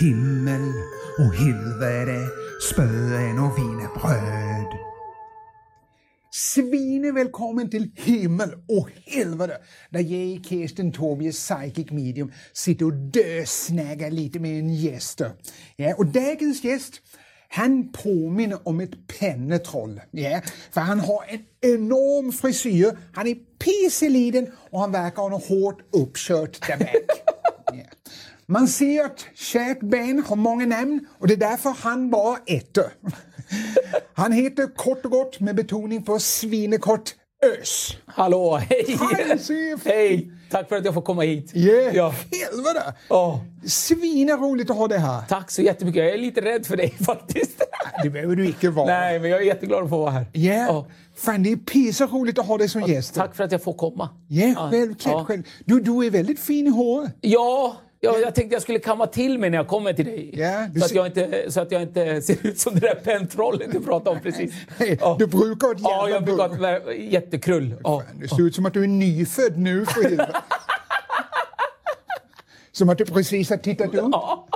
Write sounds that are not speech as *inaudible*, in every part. Himmel och helvete, spöen och wienerbröd. Svine välkommen till himmel och helvete! Där jag, Kirsten Tobie, psychic medium, sitter och dösnägar lite med en gäst. Ja, och dagens gäst, han påminner om ett pennetroll. Ja, för han har en enorm frisyr, han är pisseliden och han verkar ha något hårt uppkört där bak. Ja. Man ser att kärt ben har många namn och det är därför han bara ett. Han heter kort och gott, med betoning på svinekort, Ös. Hallå, hej! Hej, chef! Hej! Tack för att jag får komma hit. Yeah. Ja. Helvete! Ja. Svina roligt att ha dig här. Tack så jättemycket. Jag är lite rädd för dig *laughs* faktiskt. Det behöver du icke vara. Nej, men jag är jätteglad att få vara här. Yeah. Ja. Fan, det är pisa roligt att ha dig som gäst. Tack för att jag får komma. Yeah, självklart. Ja. själv. Du, du är väldigt fin i håret. Ja, jag, jag tänkte jag skulle kamma till mig när jag kommer till dig. Ja, du så, att ser- jag inte, så att jag inte ser ut som det där pentrollet du pratade *laughs* om precis. Nej, du brukar ha ett Ja, jävla jag brukar ha bull. ett vä- jättekrull. Ja. Det ser ut som att du är nyfödd nu för *laughs* helvete. Som att du precis har tittat upp. Ja.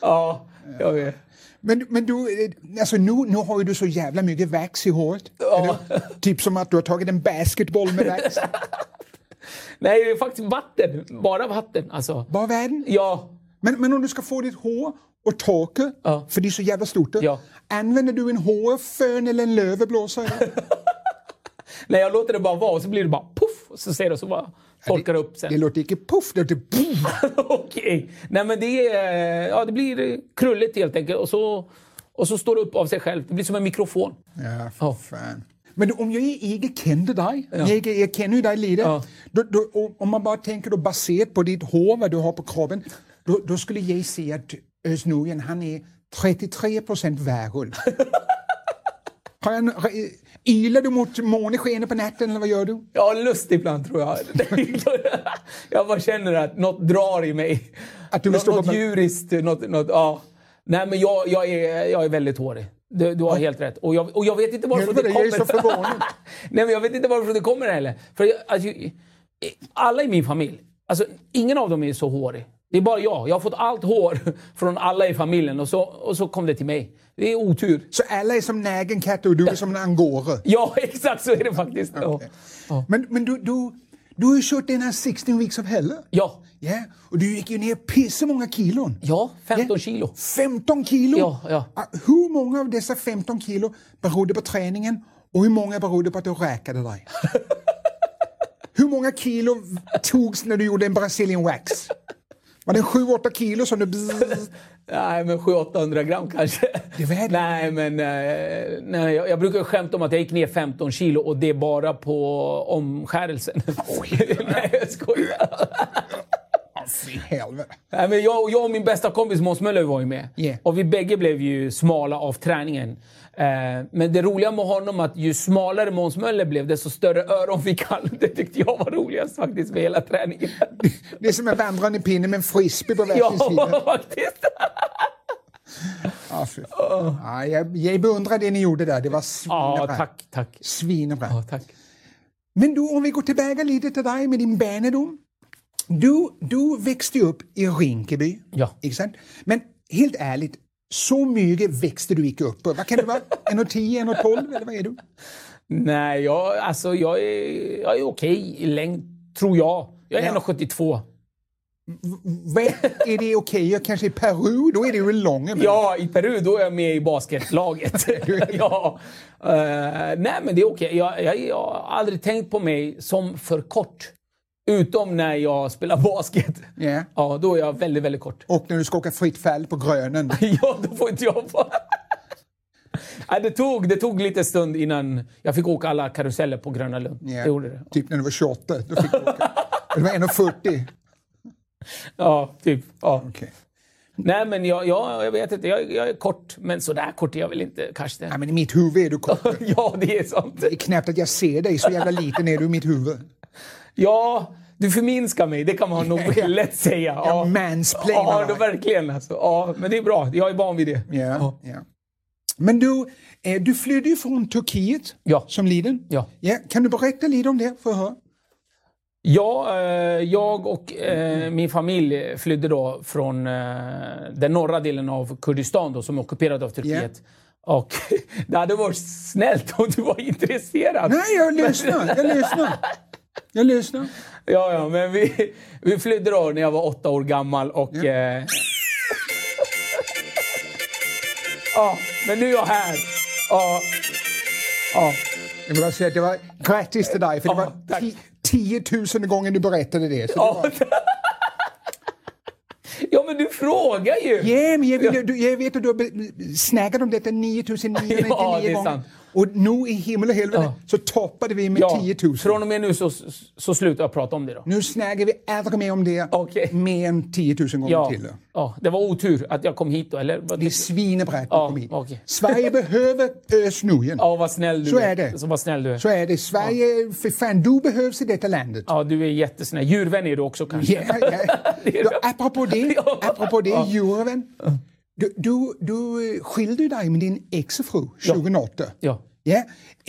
ja, jag vet. Men, men du, eh, alltså nu, nu har ju du så jävla mycket vax i håret. Eller, Typ som att du har tagit en basketboll med *laughs* vax. Nej, det är faktiskt vatten. Bara vatten alltså. Bara världen. Ja. Men, men om du ska få ditt hår och torka, Ja. för det är så jävla stort, det. Ja. använder du en hårfön eller en *laughs* löveblåsare? Nej, jag låter det bara vara och så blir det bara puff och så ser det och så bara torkar det upp sen. det låter icke puff, det låter boom. *laughs* Okej. Nej, men det, är, ja, det blir krulligt helt enkelt och så, och så står det upp av sig själv. Det blir som en mikrofon. Ja, Ja. för fan. Men du, om jag inte kände dig, jag, jag känner ju dig lite, Ja. då, då, och om man bara tänker då baserat på ditt hår, vad du har på kroppen, då, då skulle jag säga att Özz Nujen, han är 33 procent *laughs* varulv. Har jag en- re- Ylar du mot måneskenet på natten eller vad gör du? Jag har lust ibland tror jag. *laughs* jag bara känner att något drar i mig. Att du vill Nå- stå på något bän- djuriskt. Något, något, ja. Nej, men jag, jag, är, jag är väldigt hårig. Du, du har helt rätt. Och jag, och jag vet inte varför Helvete, det jag kommer. är så förvånad. *laughs* Nej, men jag vet inte varför det kommer heller. För jag, alltså, alla i min familj, alltså, ingen av dem är så hårig. Det är bara jag. Jag har fått allt hår *laughs* från alla i familjen och så, och så kom det till mig. Det är otur. Så alla är som nägenkatter och du är som en angora. Ja, *laughs* exakt så är det faktiskt. Ja. Men, men du, du, du har ju kört den här 16 weeks of hell. Ja. Ja, och du gick ju ner pissemånga kilon. ja, 15 Ja. kilo. 15 kilo? Ah, Ja, ja. Hur många av dessa 15 kilo berodde på träningen och hur många berodde på att du räkade *laughs* dig? hur många kilo togs när du gjorde en Brazilian wax? Var det 7-8 kilo som du... Nej, men 700-800 gram kanske. Det är väl- Nej, men eh, nej, jag, jag brukar skämta om att jag gick ner 15 kilo och det är bara på omskärelsen. *laughs* nej, jag skojar. Fy helvete. Nej, men jag, jag och min bästa kompis Måns Möller var ju med. Yeah. Och vi bägge blev ju smala av träningen. Eh, men det roliga med honom att ju smalare Måns Möller blev, desto större öron fick han. Det tyckte jag var roligast faktiskt med hela träningen. Det är som en vandrande pinne med en frisbee på varsin *laughs* ja, sida. faktiskt. Ja, Ah, fy fan. ja, jag, jag beundrar det ni gjorde där. Det var svinbra. Ja, tack, tack. Svinbra. Ja, tack. Men du, om vi går tillbaka lite till dig med din barndom. Du, du växte upp i Rinkeby. Ja. Inte sant? Men helt ärligt, så mycket växte du inte upp. Vad kan det vara? *laughs* 1,10, 1,12 eller vad är du? Nej, jag, alltså, jag är, jag är okej i längd, tror jag. Jag är Ja. Mm. 1,72. Vad är det okej? Jag kanske i Peru, då är det ju lång. Men... Ja, i Peru då är jag med i basketlaget. *laughs* *laughs* ja. Eh, nej, men det är okej. Jag, jag, jag har aldrig tänkt på mig som för kort. Utom när jag spelar basket. Ja. Ja, då är jag väldigt, väldigt kort. *laughs* Och när du ska åka fritt fall på Grönen. ja, då får inte jag vara... *laughs* Nej, det, tog, det tog lite stund innan jag fick åka alla karuseller på Gröna Lund. Ja. Det gjorde det. Typ när du var 28. Då fick du åka. Det var 1,40. Ja, typ. Ja. Okej. Nej, men jag, jag, jag vet inte. Jag, jag är kort, men sådär kort är jag väl inte, Karsten. Nej, men i mitt huvud är du kort. *laughs* ja, det är sant. Det är knappt att jag ser dig, så jävla liten är du i mitt huvud. Ja, du förminskar mig. Det kan man nog *laughs* Ja. lätt säga. Ja, Jag mansplainar Ja, då, dig. verkligen. Alltså. Ja, men det är bra. Jag är van vid det. Ja, ja. Men du, eh, du flydde ju från Turkiet Ja. som liten. Ja. Kan du berätta lite om det? För höra? Ja, eh, jag och eh, min familj flydde då från eh, den norra delen av Kurdistan då, som är ockuperad av Turkiet. Och *laughs* det hade varit snällt om du var intresserad. Nej, jag *laughs* lyssnar. Jag lyssnar. Jag lyssnar. Ja, ja, men vi, vi flydde då när jag var åtta år gammal och... Ja, eh, ja men nu är jag här. Ja, ja. Jag vill bara säga att det var grattis till dig, för det Ja, var tack. ti- 10 000 gånger du berättade det. Så det var... ja, men du frågar ju! Ja, men jag, vill, du, jag vet att du har be- snackat om detta 9999 *laughs* Ja, det är gånger. sant. Och nu i himmel och helvete Ja. så toppade vi med Ja, 10 000. Från och med nu så, så slutar jag prata om det då. Nu snackar vi aldrig mer om det Okej. mer än 10 000 gånger Ja, till. ja, det var otur att jag kom hit då, eller? Vad Det är tycker- svinebrett Ja, att komma hit. okej. *laughs* Sverige behöver Ös Nujen. Ja, vad snäll du Så är det. Så vad snäll du är. Så är det. Sverige, för fan, du behövs i detta landet. Ja, du är jättesnäll. Djurvän är du också kanske? Ja, ja. *laughs* Det är Du, bra. apropå *laughs* det, Ja. apropå det, Ja. Jurven. Du, du, du eh, skilde dig med din exfru 2008. Ja. Ja. Eh,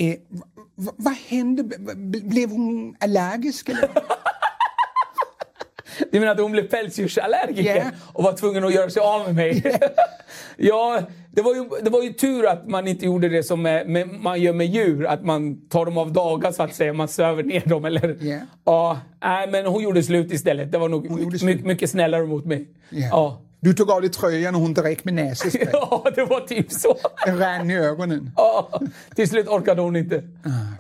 v- v- vad hände? B- b- Blev hon allergisk? Eller? Du menar att hon blev pälsdjursallergiker Ja. och var tvungen att göra sig av med mig? *laughs* ja, det var, ju, det var ju tur att man inte gjorde det som med, med, man gör med djur, att man tar dem av dagar så att säga, man söver ner dem eller... Ja. Ja, nej, men hon gjorde slut istället. Det var nog gjorde mycket, slut. mycket, snällare mot mig. Ja. *laughs* Ja. *laughs* Du tog av dig tröjan och hon direkt med näsespray. ja, det var typ så. Det rann i ögonen. ja, till slut orkade hon inte.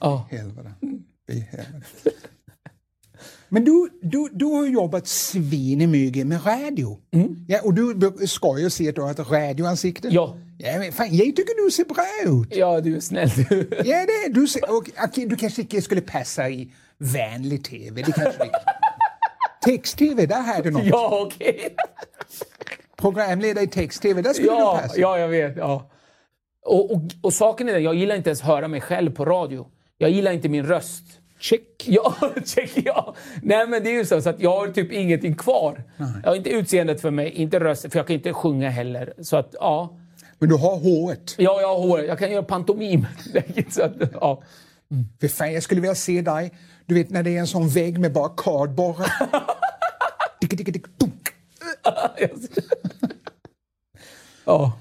Ja. Helvete. I helvete. Men du, du, du har ju jobbat svinemycket med radio. Ja, och du be- skojar och säger att du har ett radioansikte. Mm. Ja. ja men fan, jag tycker du ser bra ut. ja, du är snäll du. Ja, det, du, ser, och, okej, du kanske inte skulle passa i vanlig tv. Det kanske du- Text-tv, där hade du något. *laughs* ja, okej. Programledare i text-tv, där skulle du Ja, passa. ja, jag vet. Ja. Och, och, och saken är den, jag gillar inte ens höra mig själv på radio. Jag gillar inte min röst. Check. Ja, *laughs* check ja. Nej men det är ju så, så att jag har typ ingenting kvar. Jag har inte utseendet för mig, inte rösten, för jag kan inte sjunga heller. Så att ja, Men du har håret. ja jag har hår, jag kan göra pantomim. *laughs* så att, ja. *laughs* För fan, jag skulle vilja se dig, du vet när det är en sån vägg med bara *laughs* kardborrar. Tick, tick, tick, dunk. ja.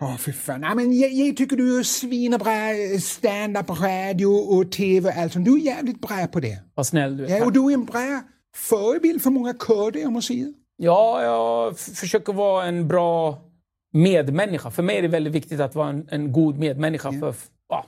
Ja, för fan. Nej, men jag, jag tycker du är svinbra stand-up, radio och tv och allt sånt. Du är jävligt bra på det. Vad snäll du är. Ja, och du är en bra förebild för många kurder, jag måste säga. Ja, jag f- försöker vara en bra medmänniska. För mig är det väldigt viktigt att vara en, en god medmänniska. Mm. För, f- ja.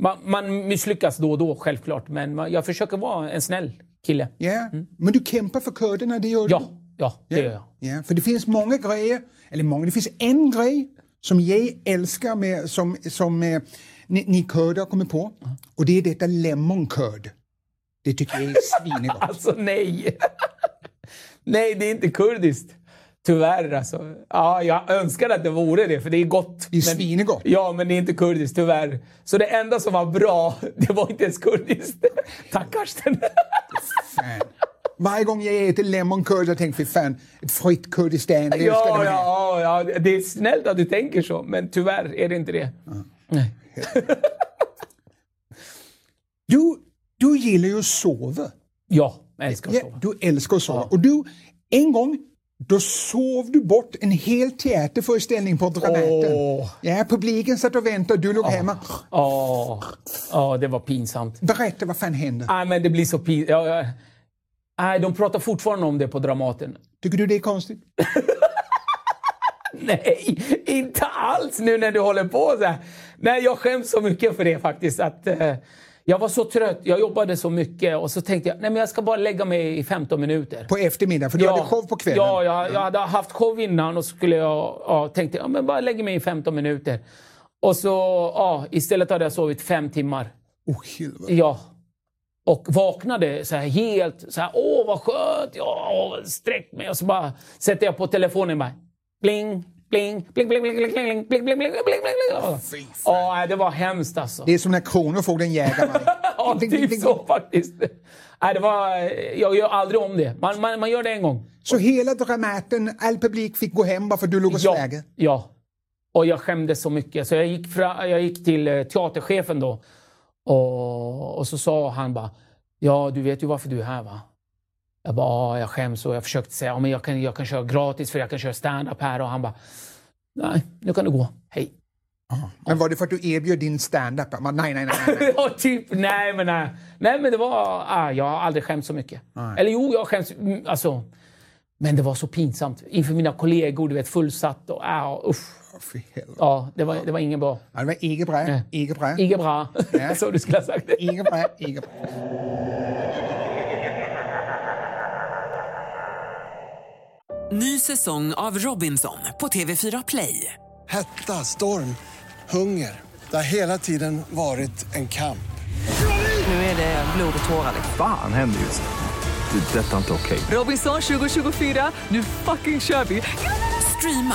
man, man misslyckas då och då, självklart. Men man, jag försöker vara en snäll kille. Ja, men du kämpar för kurderna, det gör Mm. Ja, du. ja det gör jag. *laughs* Ja, för det finns många grejer, eller många, det finns en grej som jag älskar med, som, som eh, ni, ni kurder har kommit på. Mm. Och det är detta lemon curd. Det tycker jag är *laughs* svingott. Alltså nej! nej, det är inte kurdiskt. Tyvärr alltså. Ja, jag önskar att det vore det, för det är gott. Det är svinegott. Ja, men det är inte kurdiskt, tyvärr. Så det enda som var bra, *laughs* det var inte *laughs* ens kurdiskt. Tack Karsten! Fan. Varje gång jag äter lemon curd jag tänker jag, fy fan, ett fritt Kurdistan, det ska det Ja, vara. ja, ja, det är snällt att du tänker så, men tyvärr är det inte det. Nej. Du, du gillar ju att sova. Ja, jag älskar att Ja, sova. du älskar att sova. Och du, en gång, då sov du bort en hel teaterföreställning på Dramaten. Åh. Ja, publiken satt och väntade, du låg hemma. Ja, ja, det var pinsamt. Berätta, vad fan hände? Nej, men det blir så pinsamt. Ja, ja. Nej, de pratar fortfarande om det på Dramaten. *laughs* Tycker du det är konstigt? Nej, inte alls nu när du håller på så här. Nej, jag skäms så mycket för det faktiskt. Att, eh, jag var så trött, jag jobbade så mycket och så tänkte jag nej men jag ska bara lägga mig i 15 minuter. På eftermiddagen, för du hade show på kvällen. Ja, jag, jag hade haft show innan och skulle jag, ja, tänkte ja, men bara lägger mig i 15 minuter. Och så ja, istället hade jag sovit fem timmar. Oh, helvete. Ja. Och vaknade så här helt så här, åh vad skönt, ja, åh, sträck mig. Och så bara sätter jag på telefonen och bara, Bling, bling, bling, bling, bling, bling, bling, bling, bling, bling, bling, bling, bling, bling. Ja, nej, det var hemskt alltså. Det är som när kronofogden jagar mig. *laughs* Ja, typ så faktiskt. Nej, det var, jag gör aldrig om det. Man, man, man gör det en gång. Så hela Dramaten, all publik fick gå hem bara för du låg och Ja, slägade? ja. Och jag skämdes så mycket. Så jag gick, fra, jag gick till eh, teaterchefen då. Och, och så sa han bara, ja du vet ju varför du är här va? Jag bara, ja jag skäms och jag försökte säga, ja men jag kan, jag kan köra gratis för jag kan köra stand-up här. Och han bara, nej nu kan du gå, hej. *laughs* Men var det för att du erbjöd din standup? Jag bara, Nej, nej, nej. nej, *laughs* nej. ja, typ. Nej, men nej. Nej, men det var... Ah, jag har aldrig skämt så mycket. Eller jo, jag har skämts... mm, Alltså, men det var så pinsamt. Inför mina kollegor, du vet, fullsatt och... Ah, usch. För helvete. Ja, det var, det var ingen bra. Ja, det var inget bra. Inget bra. Inget bra. *laughs* så du skulle ha sagt det. Inget bra. Inget bra. Ny säsong av Robinson på TV4 Play. Hetta, storm, hunger. Det har hela tiden varit en kamp. Nu är det blod och tårar. liksom. Fan händer just nu. Det. är Detta är inte okej. Robinson 2024, nu fucking kör vi! Streama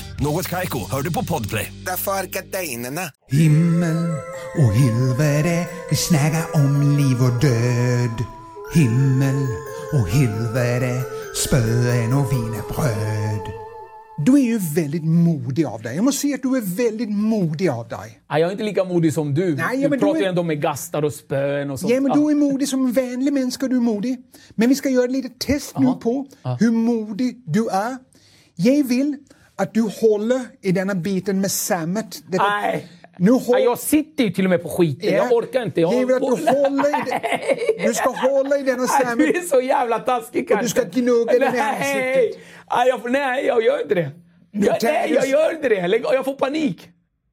Något Kaiko, hör du på Podplay. Därför är gardinerna. Himmel och helvete, vi snackar om liv och död. Himmel och helvete, spöen och wienerbröd. Du är ju väldigt modig av dig. Jag måste säga att du är väldigt modig av dig. Ah, jag är inte lika modig som du. Nej, du men du pratar är- ju ändå med gastar och spön och sånt. Ja, men Ah. du är modig som en vänlig människa. Du är modig. Men vi ska göra ett litet test nu på hur modig du är. Jag vill att du håller i denna biten med sammet. Det- Nej. Nu håll... Ah, jag sitter ju till och med på skiten. Jag orkar inte. Jag Jag vill att håller du på- *laughs* håller i det. Du ska hålla i denna Nej, sammet. du är så jävla taskig Och du ska gnugga den i Nej. ansiktet. Nej, jag, nej, jag gör inte det. Jag, tänker nej, du- jag gör inte det. Lägg, jag får panik.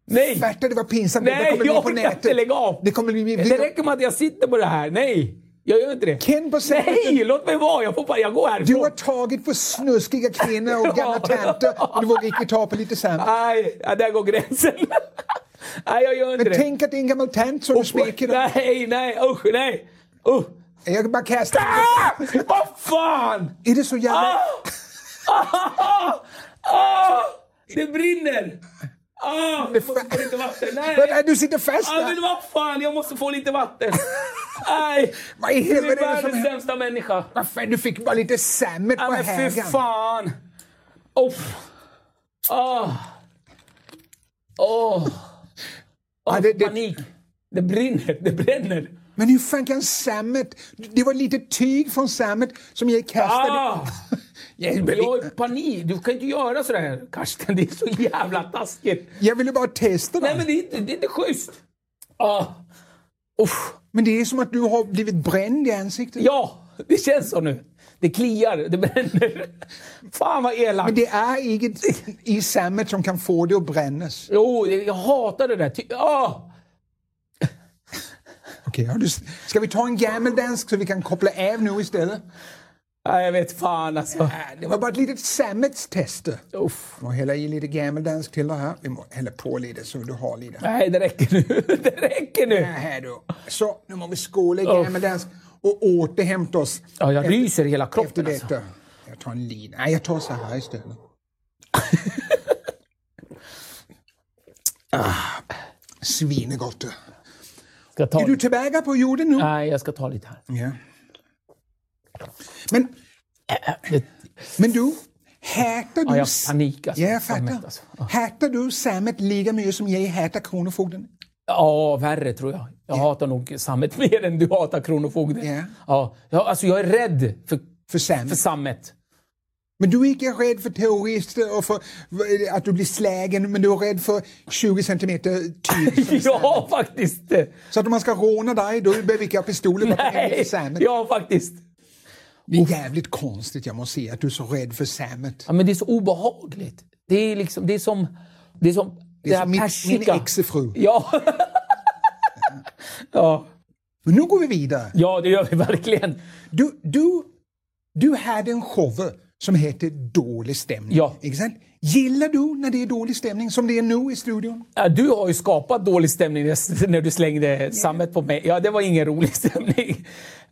Nej, Berta, det var pinsamt. det där nej kommer bli jag på orkar nätet. inte. Lägg av. Det kommer bli min Det video. räcker med att jag sitter på det här. Nej, jag gör inte det. Ken på sättet- nej, låt mig vara. Jag, får, pa- jag går Du har härifrån. tagit på snuskiga kvinnor *laughs* och gamla tanter och du vågar inte ta på lite sammet. Nej, ja, där går gränsen. *laughs* nej, jag gör inte Men det. tänk att det är en gammal tant som du smeker. Nej, nej, usch, nej. Usch. Jag bara kastar. Ah! Vad fan! Är det så jävla... Ah! Ah! Det brinner! Ah, jag måste få lite vatten. Vänta, Nej! Du sitter fast Ah, men där. vad fan, jag måste få lite vatten. Nej! Vad i Du är helvete är det som världens händer? sämsta människa. Vad fan, Du fick bara lite sammet Ah, på men fy hägen. fan! Uff. Ah. Åh! Ja, det- det- Panik. Det brinner, det bränner. Men hur fan kan sammet... Det var lite tyg från sammet som jag kastade. Ah! Jag- Jag har panik. Du kan inte göra sådär, Karsten. Det är så jävla taskigt. Jag ville bara testa Nej, men det. det är inte, det är inte schysst. Ah. Uff. Men det är som att du har blivit bränd i ansiktet. Ja, det känns så nu. Det kliar, det bränner. Fan vad elakt. Men det är inget i sammet som kan få det att brännas. Jo, det- jag hatar det där. Ty- ah. Okej, har du... Ska vi ta en gammeldansk så vi kan koppla av nu istället? Nej, jag vet fan alltså. Det var bara ett litet sammetstest. Uff. Och hälla i lite gammeldansk till det här. Vi må hälla på lite så du har lite. Nej, det räcker nu. *laughs* Det räcker nu. Här då. Så, nu må vi skåla i gammeldansk och återhämta oss. Ja, jag ryser i hela Efter kroppen alltså. detta. Jag tar en lina. Nej, jag tar så här istället. *laughs* ah, svinegott. Ska jag ta Är du lite? tillbaka på jorden nu? Nej, jag ska ta lite här. Ja. Men, Det, men du, hätar du... ja, jag s- har panik alltså. Ja, jag Sammet, fattar. alltså. Ja. Hätar du sammet lika mycket som jag hätar Kronofogden? Ja, värre tror jag. Jag hatar nog sammet *laughs* mer än du hatar Kronofogden. Ja. Ja, jag, alltså jag är rädd för, För sammet? för sammet. Men du är inte rädd för terrorister och för v- att du blir slägen, men du är rädd för 20 centimeter *laughs* tyg. som är sammet. Ja, faktiskt. Så att om man ska råna dig, då behöver vi pistolen bara för Nej, till sammet. ja faktiskt. Det är jävligt konstigt, jag måste säga, att du är så rädd för sammet. Ja, men det är så obehagligt. Det är liksom, det är som... Det är som Det är som min, min persika. exfru. Ja. *laughs* ja. Men nu går vi vidare. ja, det gör vi verkligen. Du, du, du hade en show som heter Dålig stämning. Ja. Exakt. Gillar du när det är dålig stämning som det är nu i studion? Ja, Du har ju skapat dålig stämning när du slängde sammet på mig. Ja, det var ingen rolig *laughs* stämning.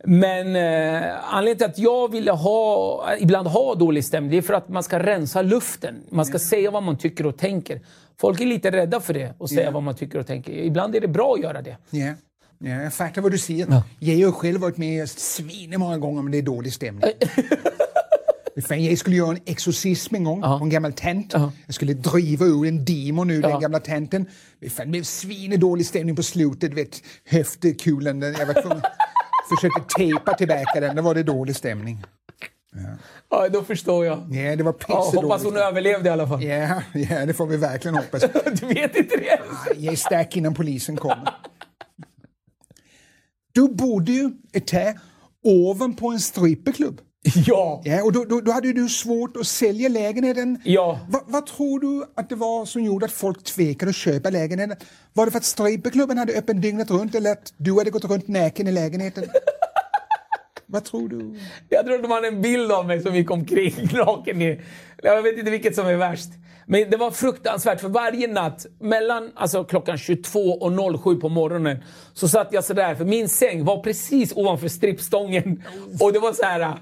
Men eh, anledningen till att jag ville ha, ibland ha dålig stämning, det är för att man ska rensa luften. Man ska säga vad man tycker och tänker. Folk är lite rädda för det, att säga vad man tycker och tänker. Ibland är det bra att göra det. Ja. Ja, jag fattar vad du säger. Jag har själv varit med svin många gånger om det är dålig stämning. *laughs* Fan, jag skulle göra en exorcism en gång på en gammal tant. Jag skulle driva ur en demon ur den gamla tanten. Det fan, blev svinedålig stämning på slutet. Vet, höftkulan, den, jag var *laughs* tvungen försökte tejpa tillbaka den. Då var det dålig stämning. Ja, då förstår jag. Ja, det var Ja, pissedålig hoppas hon överlevde i alla fall. Ja, ja, det får vi verkligen hoppas. *laughs* Du vet inte det? Jag är stark innan polisen kommer. Du bodde ju ett tag ovanpå en stripperklubb. Ja. Ja, och då, då, då hade ju du svårt att sälja lägenheten. Ja. Va, vad tror du att det var som gjorde att folk tvekade att köpa lägenheten? Var det för att stripperklubben hade öppen dygnet runt eller att du hade gått runt näken i *laughs* lägenheten? vad tror du? Jag tror de hade en bild av mig som gick omkring *laughs* naken. i- Jag vet inte vilket som är värst. Men det var fruktansvärt för varje natt mellan alltså, klockan 22 och 07 på morgonen så satt jag sådär för min säng var precis ovanför strippstången. Och det var så här.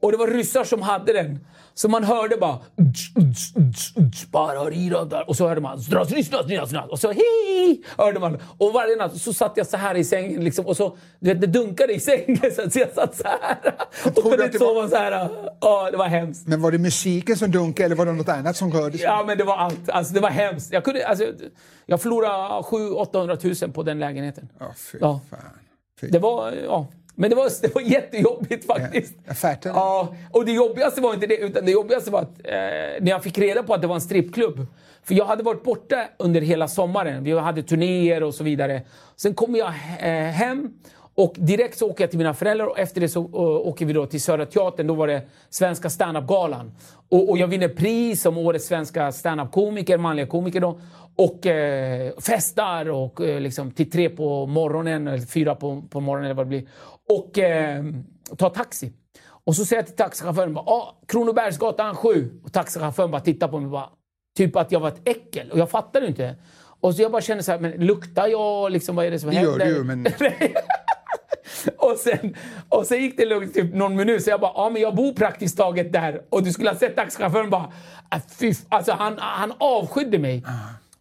Och det var ryssar som hade den. Så man hörde bara... "Uts, uts, uts, uts, bara i den där." Och så hörde man... "Zdras, zdras, zdras, zdras." Och så hej! Hörde man. Och varje natt så satt jag så här i sängen. Liksom, och så, du vet, det dunkade i sängen *laughs* så att jag satt så här. Tror Och du kunde att inte det sova så här. Ja, det var hemskt. Men var det musiken som dunkade eller var det något annat som rörde sig? Ja, men det var allt. Alltså, det var hemskt. Jag, kunde, alltså, jag förlorade 700 000 på den lägenheten. Ja, fy Ja. fan. Det var, ja. Men det var, det var jättejobbigt faktiskt. jag fattar det. Ja, och det jobbigaste var inte det, utan det jobbigaste var att eh, när jag fick reda på att det var en strippklubb. För jag hade varit borta under hela sommaren. Vi hade turnéer och så vidare. Sen kommer jag eh, hem och direkt så åker jag till mina föräldrar och efter det så eh, åker vi då till Södra Teatern. Då var det Svenska standup-galan. Och, och jag vinner pris som årets svenska standup-komiker, manliga komiker då. Och eh, festar och eh, liksom till tre på morgonen eller fyra på, på morgonen eller vad det blir. Och eh, tar taxi. Och så säger jag till taxichauffören bara, ah, Kronobergsgatan 7. Och taxichauffören bara tittar på mig och bara, typ att jag var ett äckel. Och jag fattar ju inte. Och så jag bara känner så här, men luktar jag liksom? Vad är det som Det händer? gör du ju, men... och, sen, och sen gick det lugnt typ någon minut, så jag bara, ja ah, men jag bor praktiskt taget där. Och du skulle ha sett taxichauffören bara, ah, fy, f-" alltså han, han avskydde mig.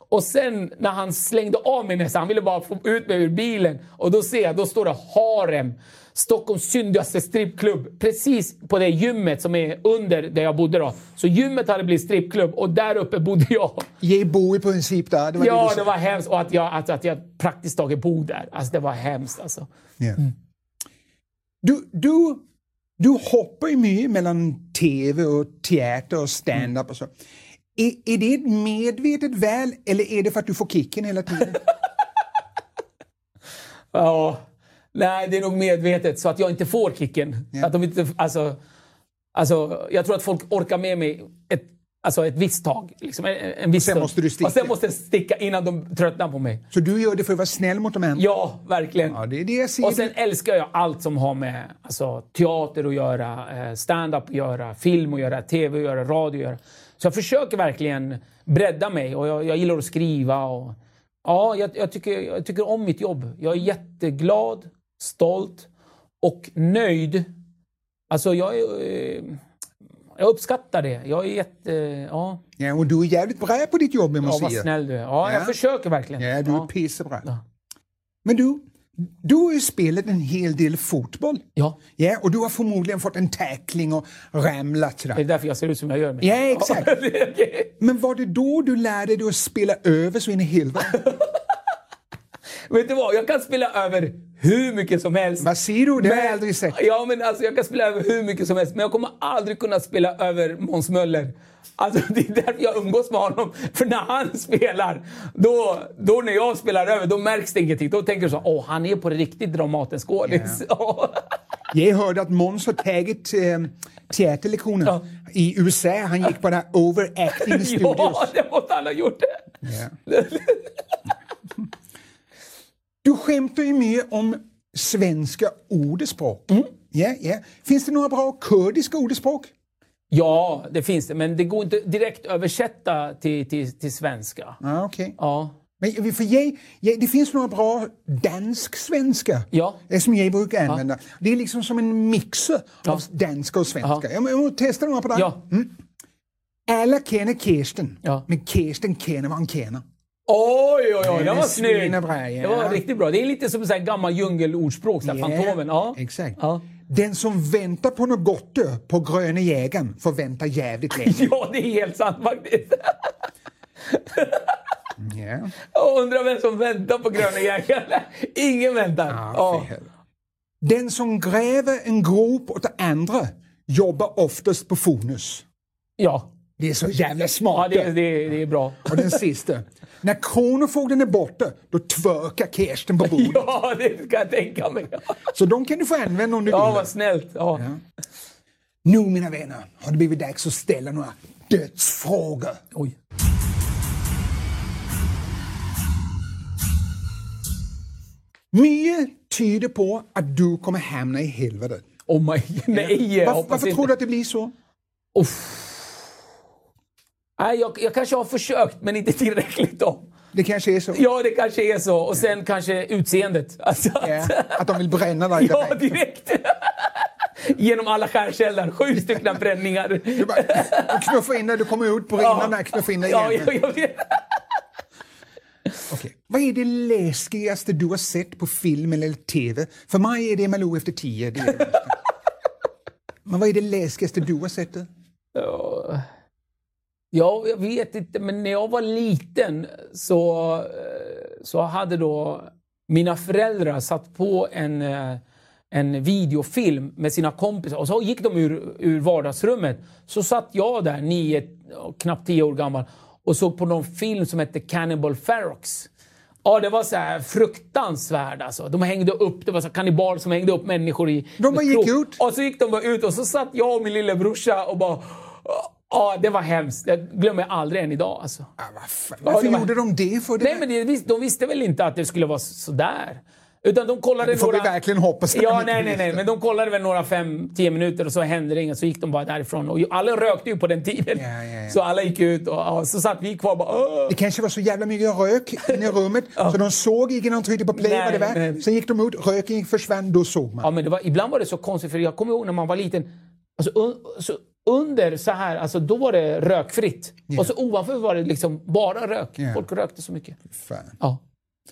Och sen när han slängde av mig nästan, han ville bara få ut mig ur bilen. Och då ser jag, då står det Harem. Stockholms syndigaste strippklubb. Precis på det gymmet som är under där jag bodde då. Så gymmet hade blivit strippklubb och där uppe bodde jag. Jag bor i princip där. Det var det du Ja, sa. det var hemskt. Och att jag, att, att jag praktiskt taget bor där. Alltså det var hemskt alltså. Ja. Du, du, du hoppar ju mycket mellan tv och teater och stand-up och så. Är, är det ett medvetet väl eller är det för att du får kicken hela *laughs* tiden? Ja. Nej, det är nog medvetet så att jag inte får kicken. Så Att de inte, alltså, alltså, jag tror att folk orkar med mig ett, alltså ett visst tag. Liksom, en, en viss sen stund. måste du sticka. Och sen måste jag sticka innan de tröttnar på mig. så du gör det för att vara snäll mot de andra? Ja, verkligen. Ja, det är det jag ser. Och sen älskar jag allt som har med alltså, teater att göra, eh, stand-up att göra, film att göra, tv att göra, radio att göra. Så jag försöker verkligen bredda mig och jag, jag gillar att skriva. Och, ja, jag, jag, tycker, jag tycker om mitt jobb. Jag är jätteglad, stolt och nöjd. Alltså jag, är, eh, jag uppskattar det. Jag är jätte... Ja, ja, och du är jävligt bra på ditt jobb, jag ja måste vad säga. snäll du är. Ja, Ja. jag försöker verkligen. Ja, du är ja. pissebra. Ja. Men du, du har ju spelat en hel del fotboll. ja. Ja, och du har förmodligen fått en tackling och ramlat. sådär. Det är därför jag ser ut som jag gör. Mig. Ja, *laughs* exakt. Okej. Men var det då du lärde dig att spela över så in i helvete? Vet du vad? Jag kan spela över hur mycket som helst. Vad säger du? Det har jag aldrig sett. Ja, men alltså, jag kan spela över hur mycket som helst, men jag kommer aldrig kunna spela över Måns Möller. Alltså, *laughs* det är därför jag umgås med honom. För när han spelar, då, då när jag spelar över, då märks det ingenting. Då tänker du så åh, han är på riktigt Dramatenskådis. Jag hörde att Måns har tagit eh, teaterlektioner Ja. i USA. Han gick på den här overacting studios. *laughs* *laughs* ja, det måste han ha gjort. *laughs* Du skämtar ju mer om svenska ord och språk. Mm. Ja, ja. Finns det några bra kurdiska ord och språk? Ja, det finns det. Men det går inte direkt översätta till, till, till svenska. Ja, okej. Ja. Men för jag, jag, det finns några bra dansk-svenska Ja. eh, som jag brukar använda. Det är liksom som en mixer av danska och svenska. Jag, må- jag måste testa några på dig. Ja. Mm. Alla känner Kirsten, Ja. men Kirsten känner vad han känner. Oj, oj, oj. Det Det är var snyggt. svinbra, ja. Det var riktigt bra. Det är lite som så här gammal djungelordspråk. Yeah. Ja, Fantomen. Ja. Exakt. Ja. Den som väntar på något gott ö, på gröna jägaren får vänta jävligt *laughs* länge. *laughs* ja, det är helt sant faktiskt. Ja. Jag undrar vem som väntar på gröna jägaren. *laughs* Ingen väntar. Ja. Den som gräver en grop åt andra jobbar oftast på Fonus. Ja. Det är så jävla Ja, smart. det, det, det är bra. Och den sista. När kronofogden är borta, då tvökar Kirsten på bordet. *laughs* Ja, det ska jag tänka mig. Så de kan du få använda om du Ja, vill. vad snällt. Ja. Nu mina vänner har det blivit dags att ställa några dödsfrågor. Oj. Mycket tyder på att du kommer hamna i helvetet. Oh my... Nej, jag Varför, hoppas varför inte. tror du att det blir så? Uff. Nej, jag, jag kanske har försökt, men inte tillräckligt. Då. Det kanske är så? Ja, det kanske är så. Och sen kanske utseendet. *laughs* Alltså, Ja, Att de vill bränna dig? ja, direkt. *laughs* Genom alla skärselder. Sju stycken bränningar. Du bara knuffar in dig, du kommer ut på ringarna, knuffar in dig igen. ja, ja, jag vet. Okej. Vad är det läskigaste du har sett på film eller tv? För mig är det Malou efter tio. Det är det *laughs* värsta. Men vad är det läskigaste du har sett? då? Ja. Ja, jag vet inte, men när jag var liten så, eh, så hade då mina föräldrar satt på en, eh, en videofilm med sina kompisar och så gick de ur, ur vardagsrummet. Så satt jag där, nio, ja, knappt tio år gammal, och såg på någon film som hette Cannibal Ferox. Ja, det var så här fruktansvärt alltså. De hängde upp, det var så här kannibal som hängde upp människor i... De bara gick krok. ut? Och så gick de bara ut och så satt jag och min lillebrorsa och bara... Ja, det var hemskt. Det glömmer jag aldrig än idag. Alltså. Ah, vad fan. Ja, Varför det var- gjorde de det? för det? Nej, men det, vis- de visste väl inte att det skulle vara så- sådär. Utan de kollade Det får några... vi verkligen hoppas att de Ja, inte nej, nej, nej. visste. Men de kollade väl några fem, tio minuter och så hände det inget. Så gick de bara därifrån. Och ju- alla rökte ju på den tiden. Ja, ja, ja. Så alla gick ut och ja, så satt vi kvar och bara... "Åh." Det kanske var så jävla mycket rök inne i rummet så de såg inte när de tryckte på play Nej, vad det var. nej. Sen gick de ut, röken gick- försvann, då såg man. Ja, men det var, ibland var det så konstigt, för jag kommer ihåg när man var liten. Alltså, un, så under så här, alltså, då var det rökfritt. Och så ovanför var det liksom bara rök. Ja. Folk rökte så mycket. Fan. Ja.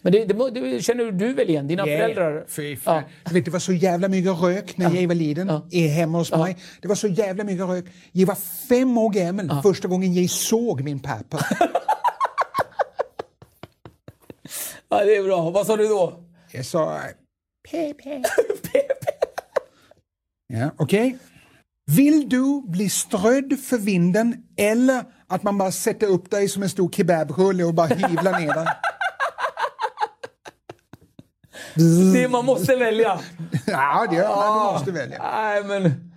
Men det, det, må- det känner du väl igen? Dina föräldrar? Fy fan. Du Vet, det var så jävla mycket rök när jag var liten i hemma hos mig. Det var så jävla mycket rök. Jag var fem år gammal första gången jag såg min pappa. Ja, det är bra. Vad sa du då? *laughs* Jag sa PP. ja, okej. Vill du bli strödd för vinden eller att man bara sätter upp dig som en stor kebabrulle och bara hyvlar ner dig? Det, man måste välja. *laughs* Ja, det ja, du måste välja. Nej, men...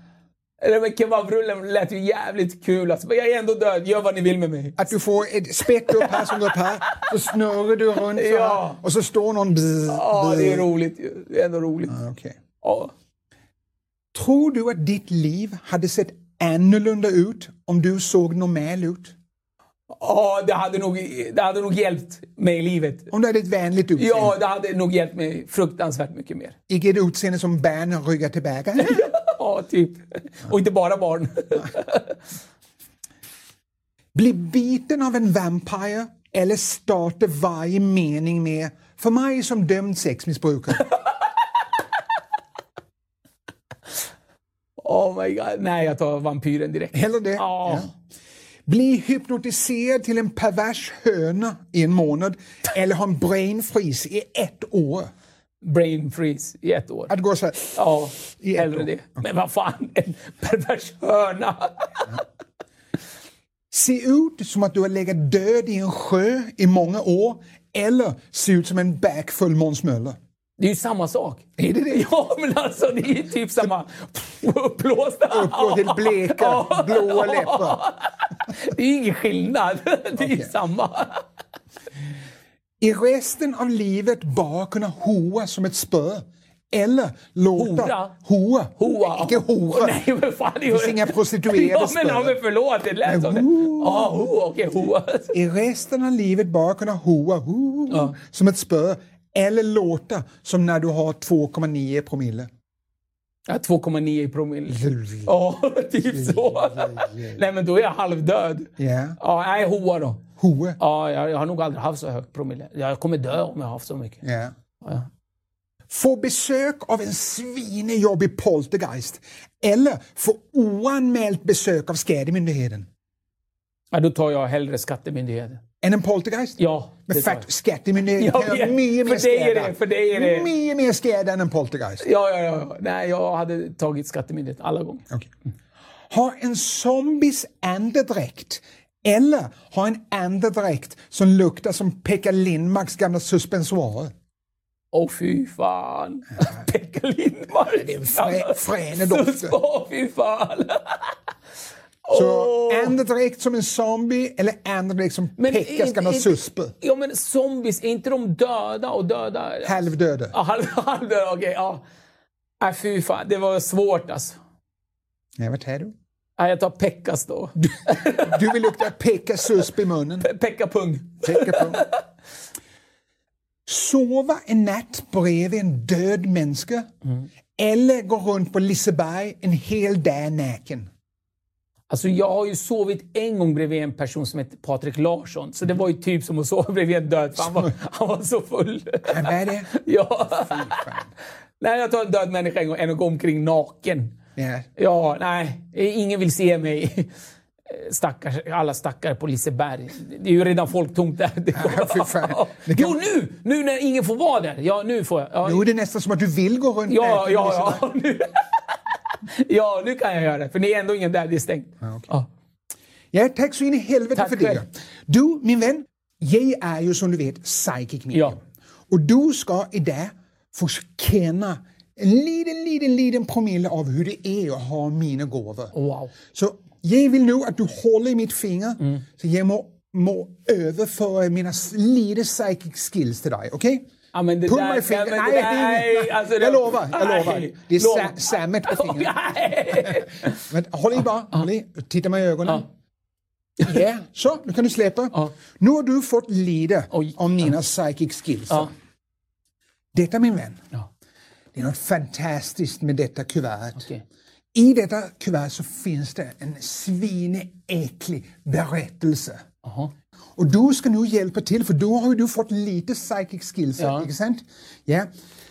Eller men kebabrullen lät ju jävligt kul. Alltså. Men jag är ändå död. Gör vad ni vill med mig. Att du får ett spett upp här som går upp här, så snurrar du runt så här, Ja. och så står någon... Bzz, Ja, bzz. det är roligt. ju. Det är ändå roligt. Okej. Ja. Tror du att ditt liv hade sett annorlunda ut om du såg normal ut? Ja, det hade, nog, det hade nog hjälpt mig i livet. Om du hade ett vänligt utseende? Ja, det hade nog hjälpt mig fruktansvärt mycket mer. Icke ett utseende som bär ryggar tillbaka? *laughs* Ja, typ. Och inte bara barn. Bli biten av en vampire eller starta varje mening med för mig som dömd sexmissbrukare. Oh my god. Nej, jag tar vampyren direkt. Hellre det. Ja. Bli hypnotiserad till en pervers höna i en månad eller ha en brain freeze i ett år. brain freeze i ett år. Att gå så här. Ja, I ett hellre år. det. Men vad fan, en pervers hörna! Se ut som att du har legat död i en sjö i många år eller se ut som en bäck full Måns Möller. Det är ju samma sak. Är det det? *laughs* Ja, men alltså det är ju typ samma... *laughs* Uppblåsta! Uppåt till bleka, *laughs* Ja. blåa läppar. Det är ju ingen skillnad. *laughs* Det är ju Okej. samma. I resten av livet bara kunna hoa som ett spö. Eller låta... Hora? Hoa. Hoa. Inte hora. *laughs* Nej, men fan. Det finns gör- inga prostituerade *laughs* ja, men, ja, större. men förlåt. Det lät som det. Ja, ho, okej, ho. I resten av livet bara kunna hoa ho, Ja. som ett spö. Eller låta som när du har 2,9 promille. Ja, 2,9 i promille. *laughs* Ja, typ så. Nej, men då är jag halvdöd. Ja. Ja, nej, hoa då. Hoe. Ja, jag, jag har nog aldrig haft så hög promille. Jag kommer dö om jag har haft så mycket. Ja. Ja. Få besök av en svinejobbig poltergeist. Eller få oanmält besök av skattemyndigheten. Ja, då tar jag hellre skattemyndigheten. Än en poltergeist? Ja, det Men tar jag. fakt, skattemyndigheten *laughs* Ja, kan ja. göra mycket För mer dig är skada. det- för dig är det- Mycket mer skada än en poltergeist. Ja, ja, ja, ja. Nej, jag hade tagit skattemyndigheten alla gånger. Okej. Ha en zombies andedräkt. Eller ha en andedräkt som luktar som Pekka Lindmarks gamla suspensoarer. Åh, fy fan. *laughs* Pekka Lindmark. Det är frä- frän doft. Åh, fy fan. *laughs* Så Åh. andedräkt som en zombie eller andedräkt som Men Pekkas är- gamla är- suspe. Ja, men zombies, är inte de döda och döda? Halvdöde. Ja, halv, *laughs* halvdöda, okej. ja. Nej, fy fan. Det var svårt alltså. Nej, vad är du? Nej, jag tar Pekkas då. Du vill lukta Pekkas susp i munnen. Pekka Pung. Tänka på. *laughs* Sova en natt bredvid en död människa eller gå runt på Liseberg en hel dag naken. Alltså jag har ju sovit en gång bredvid en person som heter Patrik Larsson. Så det var ju typ som att sova bredvid en död. För han, var, han var så full. Men Vad *laughs* är det? Ja. Nej, jag tar en död människa en gång än att gå omkring naken. Ja. Ja, nej. Ingen vill se mig. Eh, Stackars, alla stackare på Liseberg. Det är ju redan folktomt där. Det fy fan. Det kan- Jo, nu! Nu när ingen får vara där. Ja, nu får jag. Ja, Nu är det nästan som att du vill gå runt ja, naken på ja. Liseberg. Ja nu. *laughs* ja, nu kan jag göra det. För ni är ändå ingen där. Det är stängt. Ja. Ja, tack så in i helvete Tack för det. själv. Du, min vän, jag är ju som du vet psychic medium. Ja. Och du ska idag få känna en liten, liten, liten promille av hur det är att ha mina gåvor. Wow. Så jag vill nu att du håller i mitt finger så jag må, må överföra mina s- lite psychic skills till dig. Okej? Ja, men det Pumma där- i fingret. ja, nej, men det det är inget. där- alltså, det- jag lovar, jag nej. lovar. Det är Lov- sa, sammet på *laughs* Åh, fingret. nej. Men håll i bara, håll i. Titta mig i ögonen. Ja, så nu kan du släppa. Nu har du fått lida Oj. av mina psychic skills. Ja. Detta min vän, Ja. det är något fantastiskt med detta kuvert. Okej. I detta kuvert så finns det en svineäcklig berättelse. Jaha. Och du ska nu hjälpa till för då har ju du fått lite psychic skills, Ja. inte sant? Ja,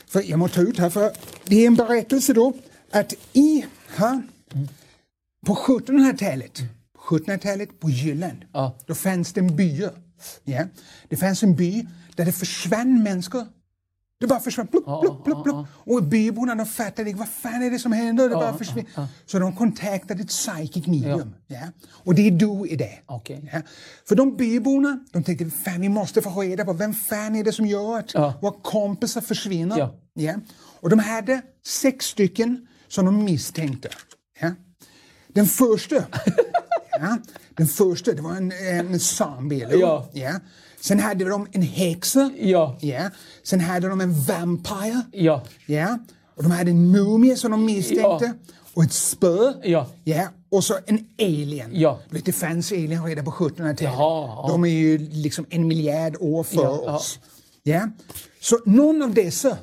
för jag måste ta ut här för det är en berättelse då att i här på 1700-talet, på 1700-talet på Jylland, Ja. då fanns det en by. Ja, det fanns en by där det försvann människor. Det bara försvann, plupp, plupp, plupp, plupp. Och byborna de fattade inte, vad fan är det som händer? Det bara försvann. Så de kontaktade ett psychic medium. Ja. Och det är du i det. Okej. Ja. För de byborna, de tänkte fan vi måste få reda på vem fan är det som gör att Ja. våra kompisar försvinner. Ja. Och de hade sex stycken som de misstänkte. Ja. Den *laughs* första, ja, den första det var en, en zombie, eller hur? Ja. Ja. Sen hade de en häxa. Ja. Ja. Sen hade de en vampire. Ja. Ja. Och de hade en mumie som de misstänkte. Och ett spö. Ja. Ja. Och så en alien. Ja. Du vet, det fanns alien redan på 1700-talet. Jaha, ja. De är ju liksom en miljard år för Ja, ja. oss. Ja. Så någon av dessa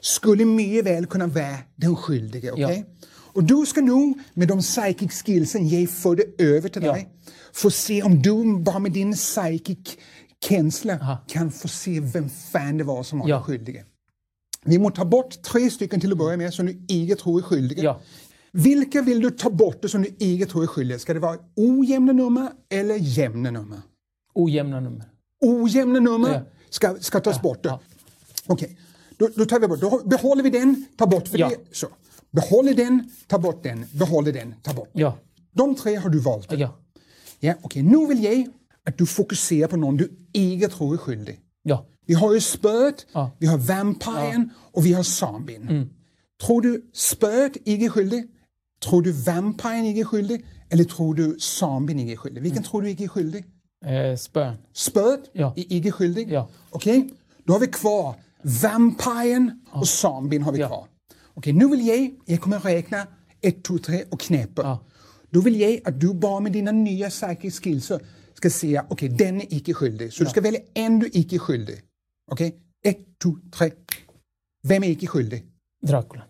skulle mycket väl kunna vara den skyldige. okej? Och du ska nu med de psychic skillsen jag förde över till Ja. dig få se om du bara med din psychic känsla kan få se vem fan det var som var Ja. den skyldige. Vi må ta bort tre stycken till att börja med som du inte tror är skyldiga. Ja. Vilka vill du ta bort det som du inte tror är skyldiga? Ska det vara ojämna nummer eller jämna nummer? Ojämna nummer. Ojämna nummer Ja. ska, ska tas bort. Okej. Då, då tar vi bort, då behåller vi den, tar bort för Ja. det. Så. Behåller den, tar bort den, behåller den, tar bort den. Ja. De tre har du valt. Ja. Ja, okej. Nu vill jag att du fokuserar på någon du inte tror är skyldig. Ja. Vi har ju spöet, Ja. vi har vampyren och vi har zombien. Tror du spöet inte är skyldig? Tror du vampyren inte är skyldig? Eller tror du zombien inte är skyldig? Vilken tror du inte är skyldig? Eh, spön. Spöet Ja. är inte skyldig? Ja. Okej, då har vi kvar vampyren och zombien har vi Ja. kvar. Okej, nu vill jag, jag kommer räkna ett, två, tre och knäppa. Ja. Då vill jag att du bara med dina nya psychic skills ska säga okej, den är icke skyldig. Så du ska välja en du icke är skyldig. Okej, ett, två, tre. Vem är icke skyldig? Dracula.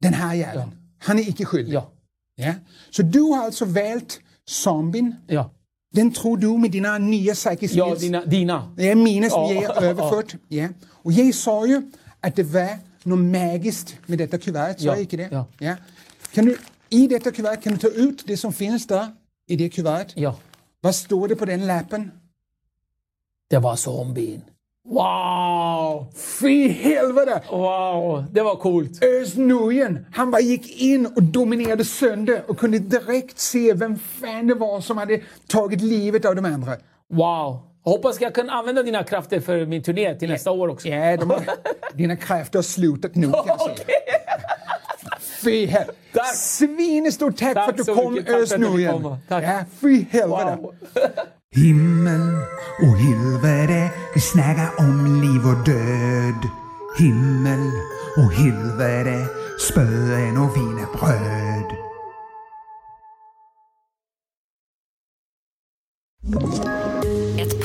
Den här jäveln. Han är icke skyldig. Ja. Ja. Så du har alltså valt zombien. Ja. Den tror du med dina nya psychic skills. Ja, dina. dina. Det är minus som Ja. jag har överfört. *laughs* Ja. Och jag sa ju att det var något magiskt med detta kuvertet, sa Ja, jag inte det? ja. Kan du, I detta kuvert kan du ta ut det som finns där, i det kuvertet. Ja. Vad står det på den lappen? Det var zombien. Wow! Fy helvete! Wow! Det var coolt. Özz Nujen, han bara gick in och dominerade sönder och kunde direkt se vem fan det var som hade tagit livet av de andra. Wow! Hoppas jag kan använda dina krafter för min turné till nästa år också. Ja, *laughs* de har, *laughs* dina krafter har slutat nu kan jag säga. Fy hel- Tack. Svinestort tack, Tack för att så du kom mycket. Tack Özz för att du fick Nujen. komma. Tack. Ja, fy helvete. Wow. Himmel och helvete, vi snackar om liv och död. Himmel och helvete, spöen och wienerbröd. Ett